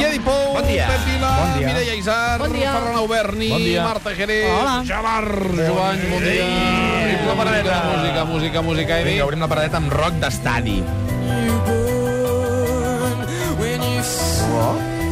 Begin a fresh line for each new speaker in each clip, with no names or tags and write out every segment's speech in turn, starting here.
Jordi Pou,
Bon dia.
Pep Vila,
Bon dia.
Mireia Isar,
Bon dia.
Ferran Auberni,
Bon dia.
Marta Jerez,
Hola.
Gerard Joan, bon dia. I la paradeta. Música, música, música, Evi.
Vinga, obrim la paradeta amb rock d'estadi.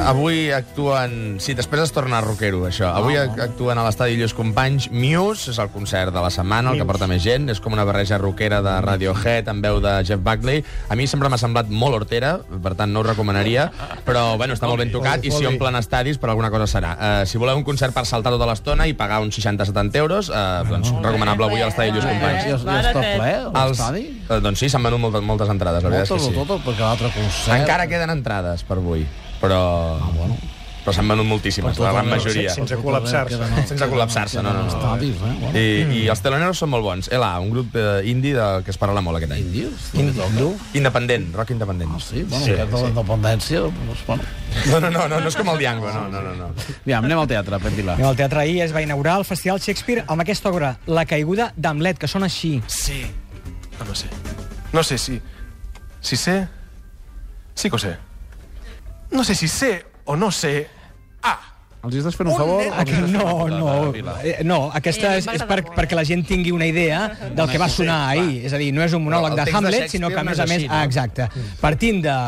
Avui actuen... Sí, després es torna rockero, això. Avui ac- actuen a l'estadi Lluís Companys Muse, és el concert de la setmana, el que porta més gent. És com una barreja rockera de Radiohead amb veu de Jeff Buckley. A mi sempre m'ha semblat molt hortera, per tant no ho recomanaria, però bueno, està molt ben tocat i si omplen estadis per alguna cosa serà. Eh, si voleu un concert per saltar tota l'estona i pagar uns 60-70 euros, eh, doncs recomanable avui a l'estadi Lluís Companys.
I, es, i està ple,
Els...
l'estadi?
Eh, doncs sí, s'han venut moltes, moltes entrades, la veritat
Moltes
és
o
que sí.
totes, perquè l'altre concert...
Encara queden entrades per avui, però... Ah, bueno. Però s'han venut moltíssimes, la gran majoria.
sense col·lapsar-se.
Sense col·lapsar-se, no, no, no.
Estadis, eh? Bueno.
I, I els teloneros són molt bons. Ela, un grup eh, indie de, que es parla molt aquest any.
Índios? Índios?
Independent, rock independent.
Ah, sí? Bueno, sí, aquest de la independència, doncs, bueno...
No, no, no, no, no és com el Diango, no, no, no. no.
Aviam, anem al teatre, Pep Vila.
Anem al teatre. Ahir es va inaugurar el Festival Shakespeare amb aquesta obra, La caiguda d'Hamlet, que sona així.
Sí. No lo sé. No sé si... Si sé... Sí que ho sé. No sé si sé o no sé... Ah!
Els hi estàs fent un favor?
Ah, que no, no, eh, no, aquesta
Eh,
és,
m'ha
és
agradat
per,
molt, eh?
perquè la gent tingui una idea del que va sonar ahir. És a dir, no és un monòleg
el
de
text de
Hamlet,
Shakespeare
sinó que, a
no
més
és
a més...
així, no?
Ah, exacte. Partint de...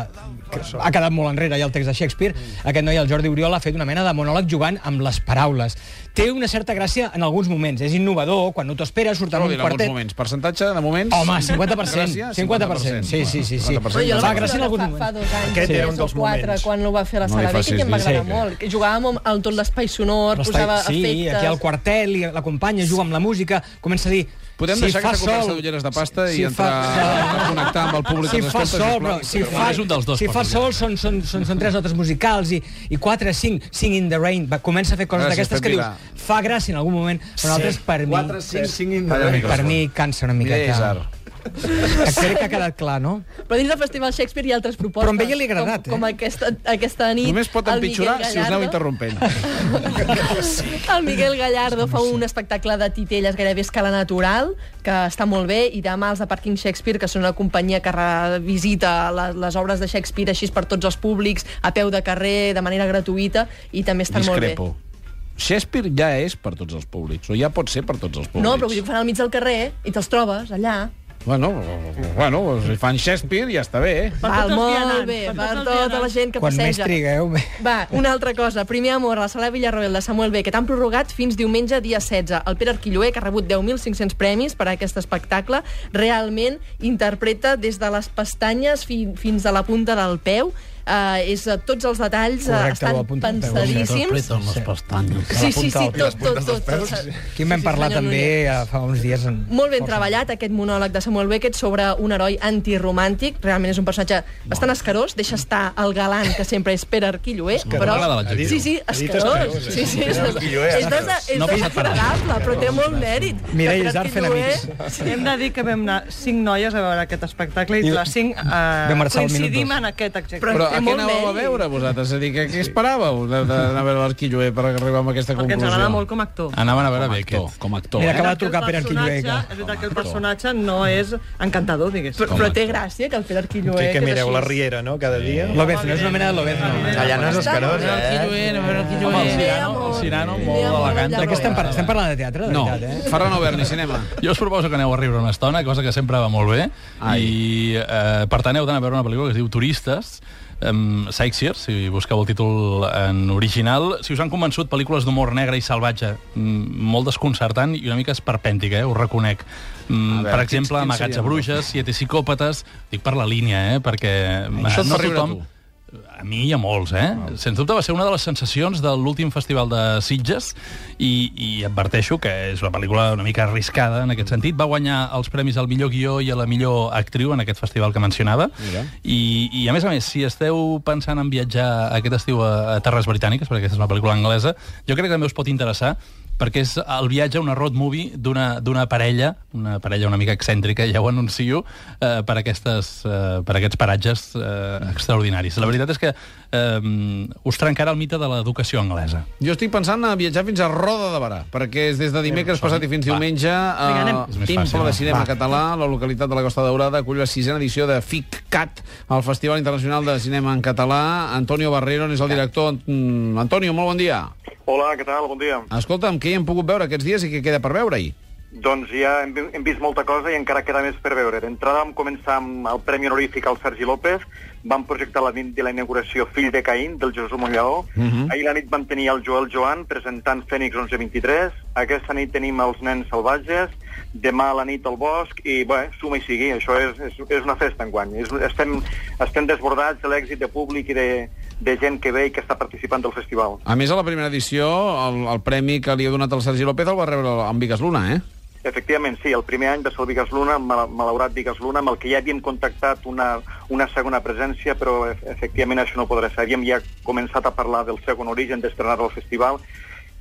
que Ha quedat molt enrere ja el text de Shakespeare. Aquest noi, el Jordi Oriol, ha fet una mena de monòleg jugant amb les paraules. Té una certa gràcia en alguns moments. És innovador, quan no t'ho esperes, surt amb
Vol
un
dir, en alguns
quartet...
moments. Percentatge, de moments...
Home, 50%.
Gràcia,
50%. Sí, sí, sí. sí.
50%.
Jo la
Fa
vaig
gràcia en
veure fa,
alguns
fa
moments.
dos anys,
Aquest
tres
era un
o
dels
quatre,
moments.
quan ho va fer a la
No li
sala Vic
facis
i em va
dir,
agradar
sí, que-
molt. Que Jugàvem amb- amb tot l'espai sonor,
Però
posava
està, sí,
efectes...
aquí al quartel, i l'acompanya, juga amb la música, comença a dir...
Podem
si
deixar
fa
aquesta conversa
sol,
d'ulleres de pasta i
si
entrar a connectar amb el públic
Si
que ens
fa
escolta, sisplau.
sol, però si
Però
fa,
és un dels dos,
si
per
fa
favor.
sol són, són, són, són tres notes musicals i, i quatre, cinc, cinc in the rain. Va, comença a fer coses
Gràcies,
d'aquestes que
Pep
dius, fa gràcia en algun moment, però nosaltres per mi...
4, 5, 5
Allà,
índios.
micro.
Per mi cansa una
Mireia
miqueta.
Isar.
Crec que ha quedat clar, no?
Però dins del Festival Shakespeare hi ha altres propostes.
Però a ella li ha agradat,
com, com
eh?
aquesta, aquesta nit...
Només pot
el
empitjorar
Miguel
si us aneu
Gallardo-
interrompent.
El Miguel Gallardo fa un espectacle de titelles gairebé a escala natural, que està molt bé, i demà els de Parking Shakespeare, que són una companyia que revisita les, les obres de Shakespeare així per tots els públics, a peu de carrer, de manera gratuïta, i també estan molt
Discrepo. Shakespeare ja és per tots els públics, o ja pot ser per tots els
bé.
públics.
No, però vull dir, ho fan al mig del carrer i te'ls trobes allà.
Bueno, bueno, si fan Shakespeare ja està bé.
Per Val, molt bé, per, tota la gent que
Quan més
passeja.
trigueu... bé.
Va, una altra cosa. Primer amor, la sala Villarroel de Samuel B, que t'han prorrogat fins diumenge, dia 16. El Pere Arquilloé, que ha rebut 10.500 premis per a aquest espectacle, realment interpreta des de les pestanyes fi, fins a la punta del peu. Uh, és, eh, tots els detalls eh,
Correcte, la
estan
punta del peu.
pensadíssims.
Interpreten les pestanyes.
Sí, sí, sí, tot, tot, tot. tot.
Aquí en vam
Sí, sí,
parlar
senyor
també
Núñez.
eh, fa uns dies... En...
Molt ben treballat aquest monòleg de Samuel Beckett sobre un heroi antiromàntic. Realment és un personatge bastant escarós. Deixa estar el galant, que sempre és Pere Arquilloé. Però...
M'agrada l'adjectiu.
Sí, sí, escarós. Sí, sí,
eh?
és, des- és, des- és desagradable, però té molt mèrit.
Mireia
Que
Isar fent
Arquilloé-
amics.
Hem de dir que vam anar cinc noies a veure aquest espectacle i les cinc eh,
Vam marxar al minut
coincidim
dos.
en aquest exacte.
Però
Però
té
a què
molt
anàveu a
mèrit.
veure vosaltres? És a dir, que què esperàveu de- d'anar a veure l'Arquilloé per arribar a aquesta
Perquè ens
conclusió?
agrada molt com a actor.
Anaven a veure
com a actor,
Beckett.
com a actor.
Mira,
eh?
que va
És veritat
trucar per
el personatge-
Ah,
Arquilloé.
És veritat que el personatge no és encantador, diguéssim.
Però, però té gràcia que el Pere Arquilloé...
Que, que
és
mireu
així.
la Riera, no?, cada dia.
Lobezno, és una mena de Lobezno.
Allà no és escarós, eh?
Home, el
Bé,
Cirano, el
amor.
Cirano
Bé,
molt
amor,
elegant.
amor.
D'aquí estem, par estem parlant de teatre, de
No,
veritat, eh?
Ferran Oberni, cinema.
Jo us proposo que aneu a riure una estona, cosa que sempre va molt bé, Ai. i eh, per tant heu d'anar a veure una pel·lícula que es diu Turistes, um, Sightseer, si busqueu el títol en original. Si us han convençut pel·lícules d'humor negre i salvatge, mm, molt desconcertant i una mica esperpèntica, eh, ho reconec.
A
Mm,
veure,
per
quins-
exemple,
quins
Amagats a
serien?
bruixes, Siete psicòpates, dic per la línia, eh, perquè eh,
Això et
no
fa riure a
tothom...
tu?
A mi i a molts, eh? Sens dubte va ser una de les sensacions de l'últim festival de Sitges i, i adverteixo que és una pel·lícula una mica arriscada en aquest sentit. Va guanyar els premis al millor guió i a la millor actriu en aquest festival que mencionava. I, I, a més a més, si esteu pensant en viatjar aquest estiu a, a Terres Britàniques, perquè aquesta és una pel·lícula anglesa, jo crec que també us pot interessar perquè és el viatge, una road movie d'una d'una parella, una parella una mica excèntrica, ja ho anuncio, eh, per, aquestes, eh, per aquests paratges eh, extraordinaris. La veritat és que eh, us trencarà el mite de l'educació anglesa.
Jo estic pensant a viatjar fins a Roda de Barà, perquè és des de dimecres passat i fins diumenge
Vinga, anem.
a
És més fàcil, eh?
Temple
va.
de Cinema Català, la localitat de la Costa Daurada, acull la sisena edició de FICCAT, el Festival Internacional de Cinema en Català. Antonio Barrero n'és el director. Mm, Antonio, molt bon dia.
Hola, què tal? Bon dia.
Escolta'm, què hi hem pogut veure aquests dies i què queda per veure-hi?
Doncs ja hem, vi- hem vist molta cosa i encara queda més per veure. D'entrada vam començar amb el Premi Honorífic al Sergi López, vam projectar la nit de la inauguració Fill de Caín, del Jesús Monllaó. Uh -huh. Ahir la nit vam tenir el Joel Joan presentant Fènix 1123. Aquesta nit tenim els Nens Salvatges, demà a la nit al Bosc, i bé, suma i sigui, això és, és, és una festa enguany. És, estem, estem desbordats de l'èxit de públic i de, de gent que ve i que està participant del festival.
A més, a la primera edició, el, el premi que li ha donat el Sergi López el va rebre amb Vigas Luna, eh?
Efectivament, sí, el primer any va ser el Vigas Luna, mal- malaurat Vigas Luna, amb el que ja havíem contactat una, una segona presència, però ef- efectivament això no podrà ser. Havíem ja començat a parlar del segon origen, d'estrenar-lo al festival,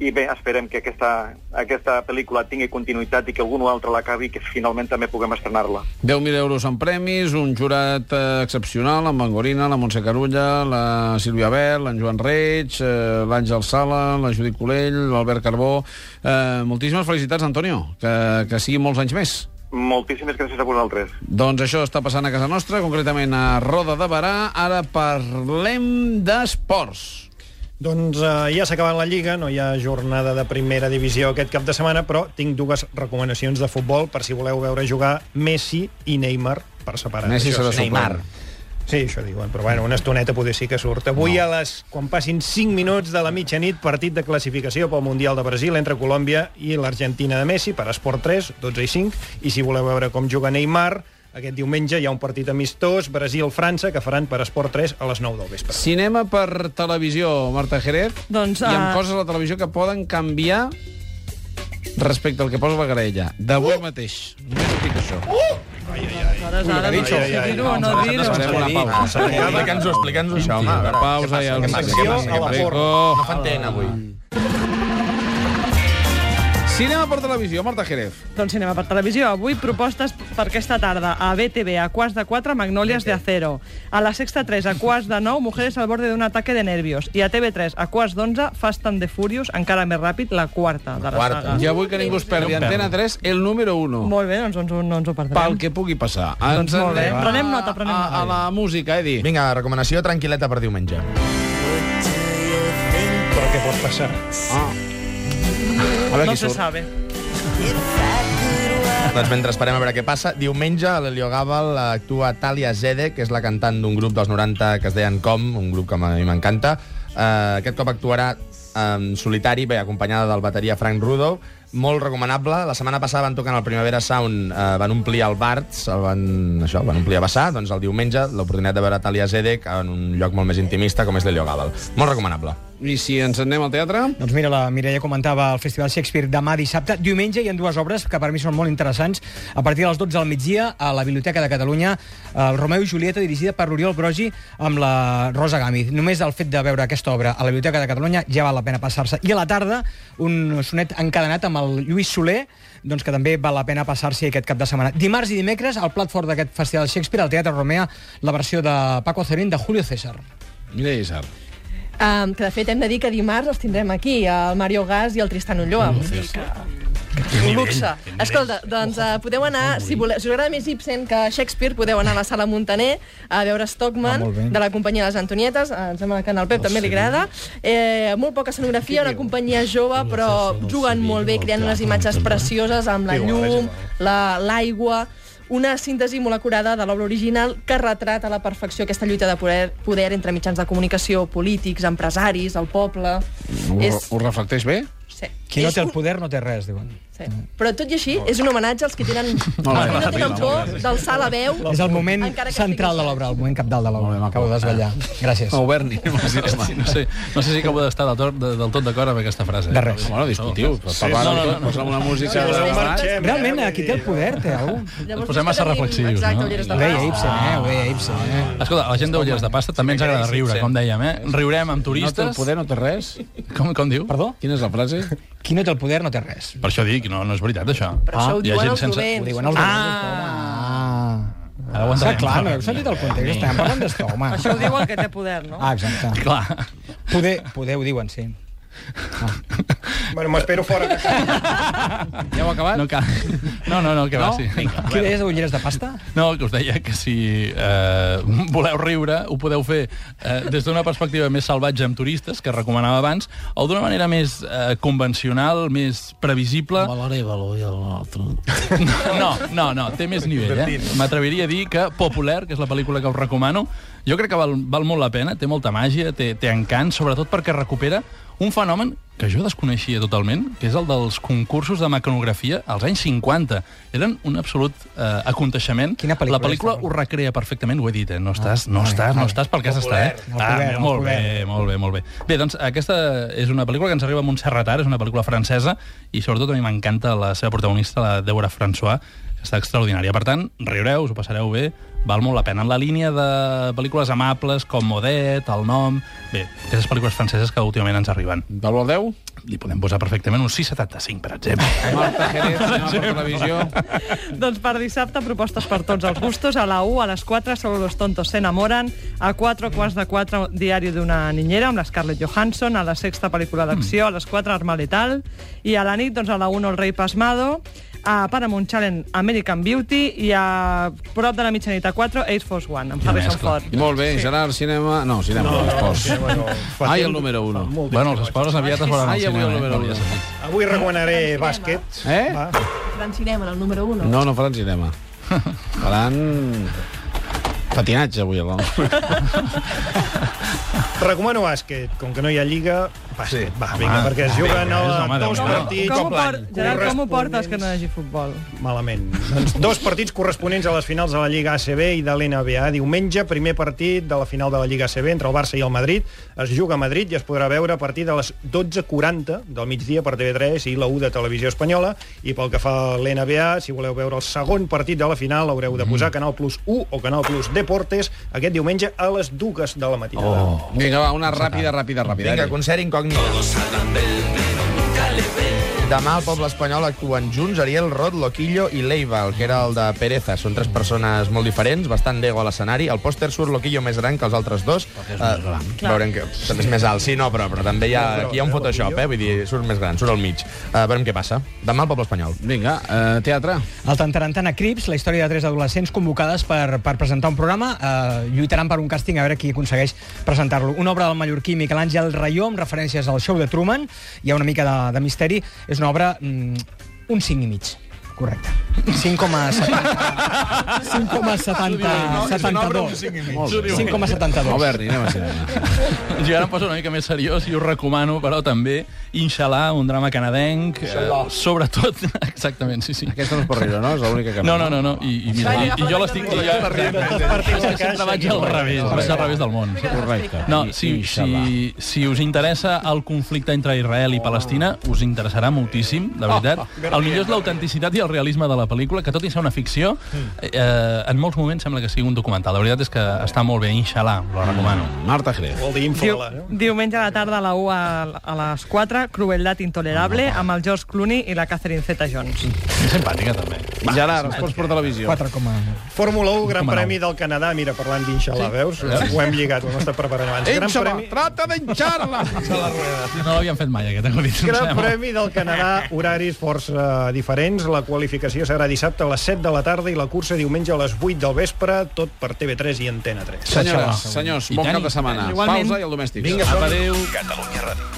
i bé, esperem que aquesta, aquesta pel·lícula tingui continuïtat i que algun o altre l'acabi i que finalment també puguem estrenar-la.
10.000 euros en premis, un jurat eh, excepcional, amb Mangorina, la Montse Carulla, la Sílvia Bert, l'en Joan Reig, eh, l'Àngel Sala, la Judit Colell, l'Albert Carbó... Eh, moltíssimes felicitats, Antonio, que, que sigui molts anys més.
Moltíssimes gràcies a vosaltres.
Doncs això està passant a casa nostra, concretament a Roda de Barà. Ara parlem d'esports.
Doncs eh, ja s'ha acabat la Lliga, no hi ha jornada de primera divisió aquest cap de setmana, però tinc dues recomanacions de futbol per si voleu veure jugar Messi i Neymar per separat.
Messi
Això
serà
sí.
suplent.
Sí, això diuen, però bueno, una estoneta poder sí que surt. Avui no. a les, quan passin 5 minuts de la mitjanit, partit de classificació pel Mundial de Brasil entre Colòmbia i l'Argentina de Messi per Esport 3, 12 i 5, i si voleu veure com juga Neymar, aquest diumenge hi ha un partit amistós Brasil-França que faran per Esport 3 a les 9 del vespre.
Cinema per televisió, Marta Jerez.
Doncs,
Hi ha
eh,
coses a la televisió que poden canviar respecte al que posa la graella. D'avui uh! mateix. Només dic això. Uh!
Aleshores, ara no
Garitxo.
sé si dir-ho o no dir-ho.
Farem una pausa.
Explica'ns-ho, explica'ns-ho, això, home. a veure.
Pausa i el
Què passa,
què
secció.
passa, què passa?
No fan tent, avui.
Cinema per televisió, Marta Jerez.
Doncs cinema per televisió. Avui propostes per aquesta tarda. A BTV, a quarts de 4, Magnòlies de Acero. A la sexta 3, a quarts de 9, Mujeres al borde d'un ataque de nervios. I a TV3, a quarts d'11, Fast and the Furious, encara més ràpid, la quarta de la
quarta.
saga.
I avui que ningú es perdi. Antena 3, el número 1.
Molt bé, doncs ens ho- no ens ho perdrem.
Oh. Pel que pugui passar. Ens
Doncs molt bé.
anem a-
Prenem nota, prenem
a,
nota.
a la música, Edi.
Vinga, recomanació tranquil·leta per diumenge.
Però què pot passar?
A veure
No
qui
se
surt.
sabe.
Doncs mentre esperem a veure què passa, diumenge a l'Helio Gàbal actua Talia Zede, que és la cantant d'un grup dels 90 que es deien Com, un grup que a mi m'encanta. Uh, aquest cop actuarà en solitari, bé, acompanyada del bateria Frank Rudo, molt recomanable. La setmana passada van tocar en el Primavera Sound, eh, van omplir el Barts, el van, això, el van omplir a vessar, doncs el diumenge l'oportunitat de veure Talia Zedek en un lloc molt més intimista com és l'Helio Gàbal. Molt recomanable.
I si ens en anem al teatre?
Doncs mira, la Mireia comentava el Festival Shakespeare demà dissabte. Diumenge hi ha dues obres que per mi són molt interessants. A partir de les 12 del migdia, a la Biblioteca de Catalunya, el Romeu i Julieta, dirigida per l'Oriol Brogi amb la Rosa Gàmiz. Només el fet de veure aquesta obra a la Biblioteca de Catalunya ja val la pena passar-se. I a la tarda, un sonet encadenat amb el Lluís Soler, doncs que també val la pena passar-s'hi aquest cap de setmana. Dimarts i dimecres, al plat fort d'aquest Festival Shakespeare, al Teatre Romea, la versió de Paco Cerín de Julio César.
Mira, Isar.
Um, que de fet hem de dir que dimarts els tindrem aquí, el Mario Gas i el Tristan Ulloa. Vull dir que... Un luxe. Escolta, doncs uh, podeu anar, si, voleu, si us agrada més Ibsen que Shakespeare, podeu anar a la sala Montaner a veure Stockman, de la companyia de les Antonietes, eh, em sembla que al Pep també li agrada. Eh, molt poca escenografia, una companyia jove, però juguen molt bé, creant unes imatges precioses amb la llum, la- l'aigua... Una síntesi molt acurada de l'obra original que retrata a la perfecció aquesta lluita de poder, poder entre mitjans de comunicació, polítics, empresaris, el poble...
Ho, ho reflecteix bé?
Sí.
Qui no
És
té el
un-
poder no té res, diuen.
Sí. Però tot i així, és un homenatge als que tenen, als que no tenen por d'alçar la veu.
És el moment
Encara que
central de
estigui
l'obra, el moment capdalt de l'obra. Acabo de desvetllar. Gràcies.
A Berni.
Sí, no, sé, no sé si acabo d'estar del, tot- de- del tot d'acord amb aquesta frase.
De res.
Ah, Bueno, discutiu. Sí, no, no, no, no. Posa'm una música...
Doncs
de-
on marxem,
Realment,
eh?
aquí té el poder, té algú.
Llavors,
Ens posem massa
tenim-
reflexius,
Exacte,
no?
ulleres de
Ho deia
pas.
Ibsen, eh? Ho
Ah,
deia Ibsen, eh?
Escolta, la gent d'Ulleres de Pasta també ens agrada riure, com dèiem, eh? Riurem
No
amb
té el
turistes...
poder, no té res.
Com, com diu?
Perdó?
Quina és la frase?
Qui no té el poder no té res.
Per això dic, no, no és veritat, això.
Però això ho
Hi ha
diuen
Ah.
gent
els
sense-
Ho
dolents.
diuen els ah. Ah.
Ara ho
Ah,
entenem.
clar, no heu sentit el context, estem parlant d'estò, home.
Això ho diu el que té poder, no?
Ah, exacte.
Clar.
Poder, poder ho diuen, sí.
Bueno, m'espero fora. Que...
Ja ho ha acabat?
No, cal... no, no, no, que va,
No?
Ah, sí.
Vinga.
Què deies de ulleres de pasta?
No, que us deia que si eh, voleu riure, ho podeu fer eh, des d'una perspectiva més salvatge amb turistes, que recomanava abans, o d'una manera més eh, convencional, més previsible.
Valoreva-lo i l'altre.
No, no, no, té més nivell, eh? M'atreviria a dir que Popular, que és la pel·lícula que us recomano, jo crec que val, val molt la pena, té molta màgia, té, té encant, sobretot perquè recupera un fenomen que jo desconeixia totalment, que és el dels concursos de mecanografia als anys 50. Eren un absolut eh, aconteixement.
Quina pel·lícula
La pel·lícula
és, Ah,
ho recrea perfectament, ho he dit, eh? No estàs, no estàs, no estàs pel que has estat, eh?
El Poder, el
molt
Poder.
bé, Eh, molt bé, molt bé. Bé, doncs aquesta és una pel·lícula que ens arriba a Montserrat ara, és una pel·lícula francesa, i sobretot a mi m'encanta la seva protagonista, la Deborah François, que està extraordinària. Per tant, riureu, us ho passareu bé, val molt la pena. En la línia de pel·lícules amables com Odette, El nom... Bé, aquestes pel·lícules franceses que últimament ens arriben.
Del 1 al 10?
Li podem posar perfectament un 6,75, per exemple.
Marta Jerez, cinema per televisió.
Doncs per dissabte, propostes per tots els gustos. A la 1, a les 4, Solo los tontos se enamoran. A 4, quarts de 4, Diari d'una niñera, amb la Scarlett Johansson. A la sexta, pel·lícula d'acció. A les 4, Arma letal. I a la nit, doncs a la 1, El rei pasmado. A Paramount Challenge, American Beauty. I a prop de la mitjanit, a 4, Ace Force One, amb Harrison
mescla.
Ford.
Molt bé, Gerard, cinema... No, cinema, no, esports.
Bueno, fa
Ai,
temps-
el número 1.
Molt bé.
bueno, els esports aviat es veuran al
Ai, avui el
cinema.
número
eh?
1.
Avui recomanaré bàsquet.
Eh?
Va.
Gran cinema, el número 1.
No, no faran cinema. Faran... Patinatge, avui, a la...
Recomano bàsquet. Com que no hi ha lliga, bàsquet. Va, vinga,
Home,
perquè es
home,
juguen
Déu,
a
home, Déu,
dos
home.
partits...
Com ho, por... Gerard, com ho portes que no hi hagi futbol?
Malament. Doncs dos partits corresponents a les finals de la Lliga ACB i de l'NBA. Diumenge, primer partit de la final de la Lliga ACB entre el Barça i el Madrid. Es juga a Madrid i es podrà veure a partir de les 12.40 del migdia per TV3 i la U de Televisió Espanyola. I pel que fa a l'NBA, si voleu veure el segon partit de la final, haureu de posar Canal Plus 1 o Canal Plus Deportes aquest diumenge a les dues de la matinada. Oh.
Vinga, va, una ràpida, ràpida, ràpida.
Vinga, concert incògnit. Demà al poble espanyol actuen junts Ariel, Rod, Loquillo i Leiva, el que era el de Pereza. Són tres persones molt diferents, bastant d'ego a l'escenari. El pòster surt Loquillo més gran que els altres dos. Eh, veurem que també és més alt. Sí, no, però, però també hi ha, aquí hi ha un Photoshop, eh? Vull dir, surt més gran, surt al mig. Eh, veurem què passa. Demà al poble espanyol.
Vinga, eh, teatre.
El Tantarantana Crips, la història de tres adolescents convocades per, per presentar un programa, eh, lluitaran per un càsting a veure qui aconsegueix presentar-lo. Una obra del mallorquí Miquel Àngel Rayó, amb referències al show de Truman, hi ha una mica de, de misteri, és una obra mm, un 5 i mig. Correcte. 5,70... 5,72. 5,72.
Albert, anem a cinema.
Jo ara em poso una mica més seriós i us recomano, però també, Inshallah, un drama canadenc, eh, sobretot, exactament, sí, sí.
Aquesta no es pot riure, no? És l'única que...
No, no, no, no. I, i mira, i, i jo l'estic... i Jo, jo sempre vaig al revés, vaig al revés del món.
Correcte.
No, si,
Inshallah. Oh.
si, si us interessa el conflicte entre Israel i Palestina, us interessarà moltíssim, de veritat. El millor és l'autenticitat i el realisme de la pel·lícula, que tot i ser una ficció,
Hmm.
eh, en molts moments sembla que sigui un documental. La veritat és que està molt bé, Inshallah, la recomano.
Marta Jerez.
Vol dir
Diu,
infala, no?
diumenge a la tarda a la 1 a, a les 4, Crueldad intolerable, amb el George Clooney i la Catherine Zeta-Jones.
És simpàtica, també.
Gerard, esports per televisió.
4,
Fórmula 1, Gran Premi del Canadà. Mira, parlant d'Inxalà, Oh. sí. veus? Ho hem lligat, ho hem estat preparant abans. Gran
Inxallah,
Premi...
trata d'enxar-la!
No l'havien fet mai, aquest acudit. em
Gran
sembla.
Premi del Canadà, horaris força diferents. La qualificació serà dissabte a les 7 de la tarda i la cursa diumenge a les 8 del vespre, tot per TV3 i Antena 3.
Senyores, senyors,
I
bon
tant.
cap de setmana.
Igualment.
Pausa i el domèstic.
Adéu.
Catalunya Ràdio.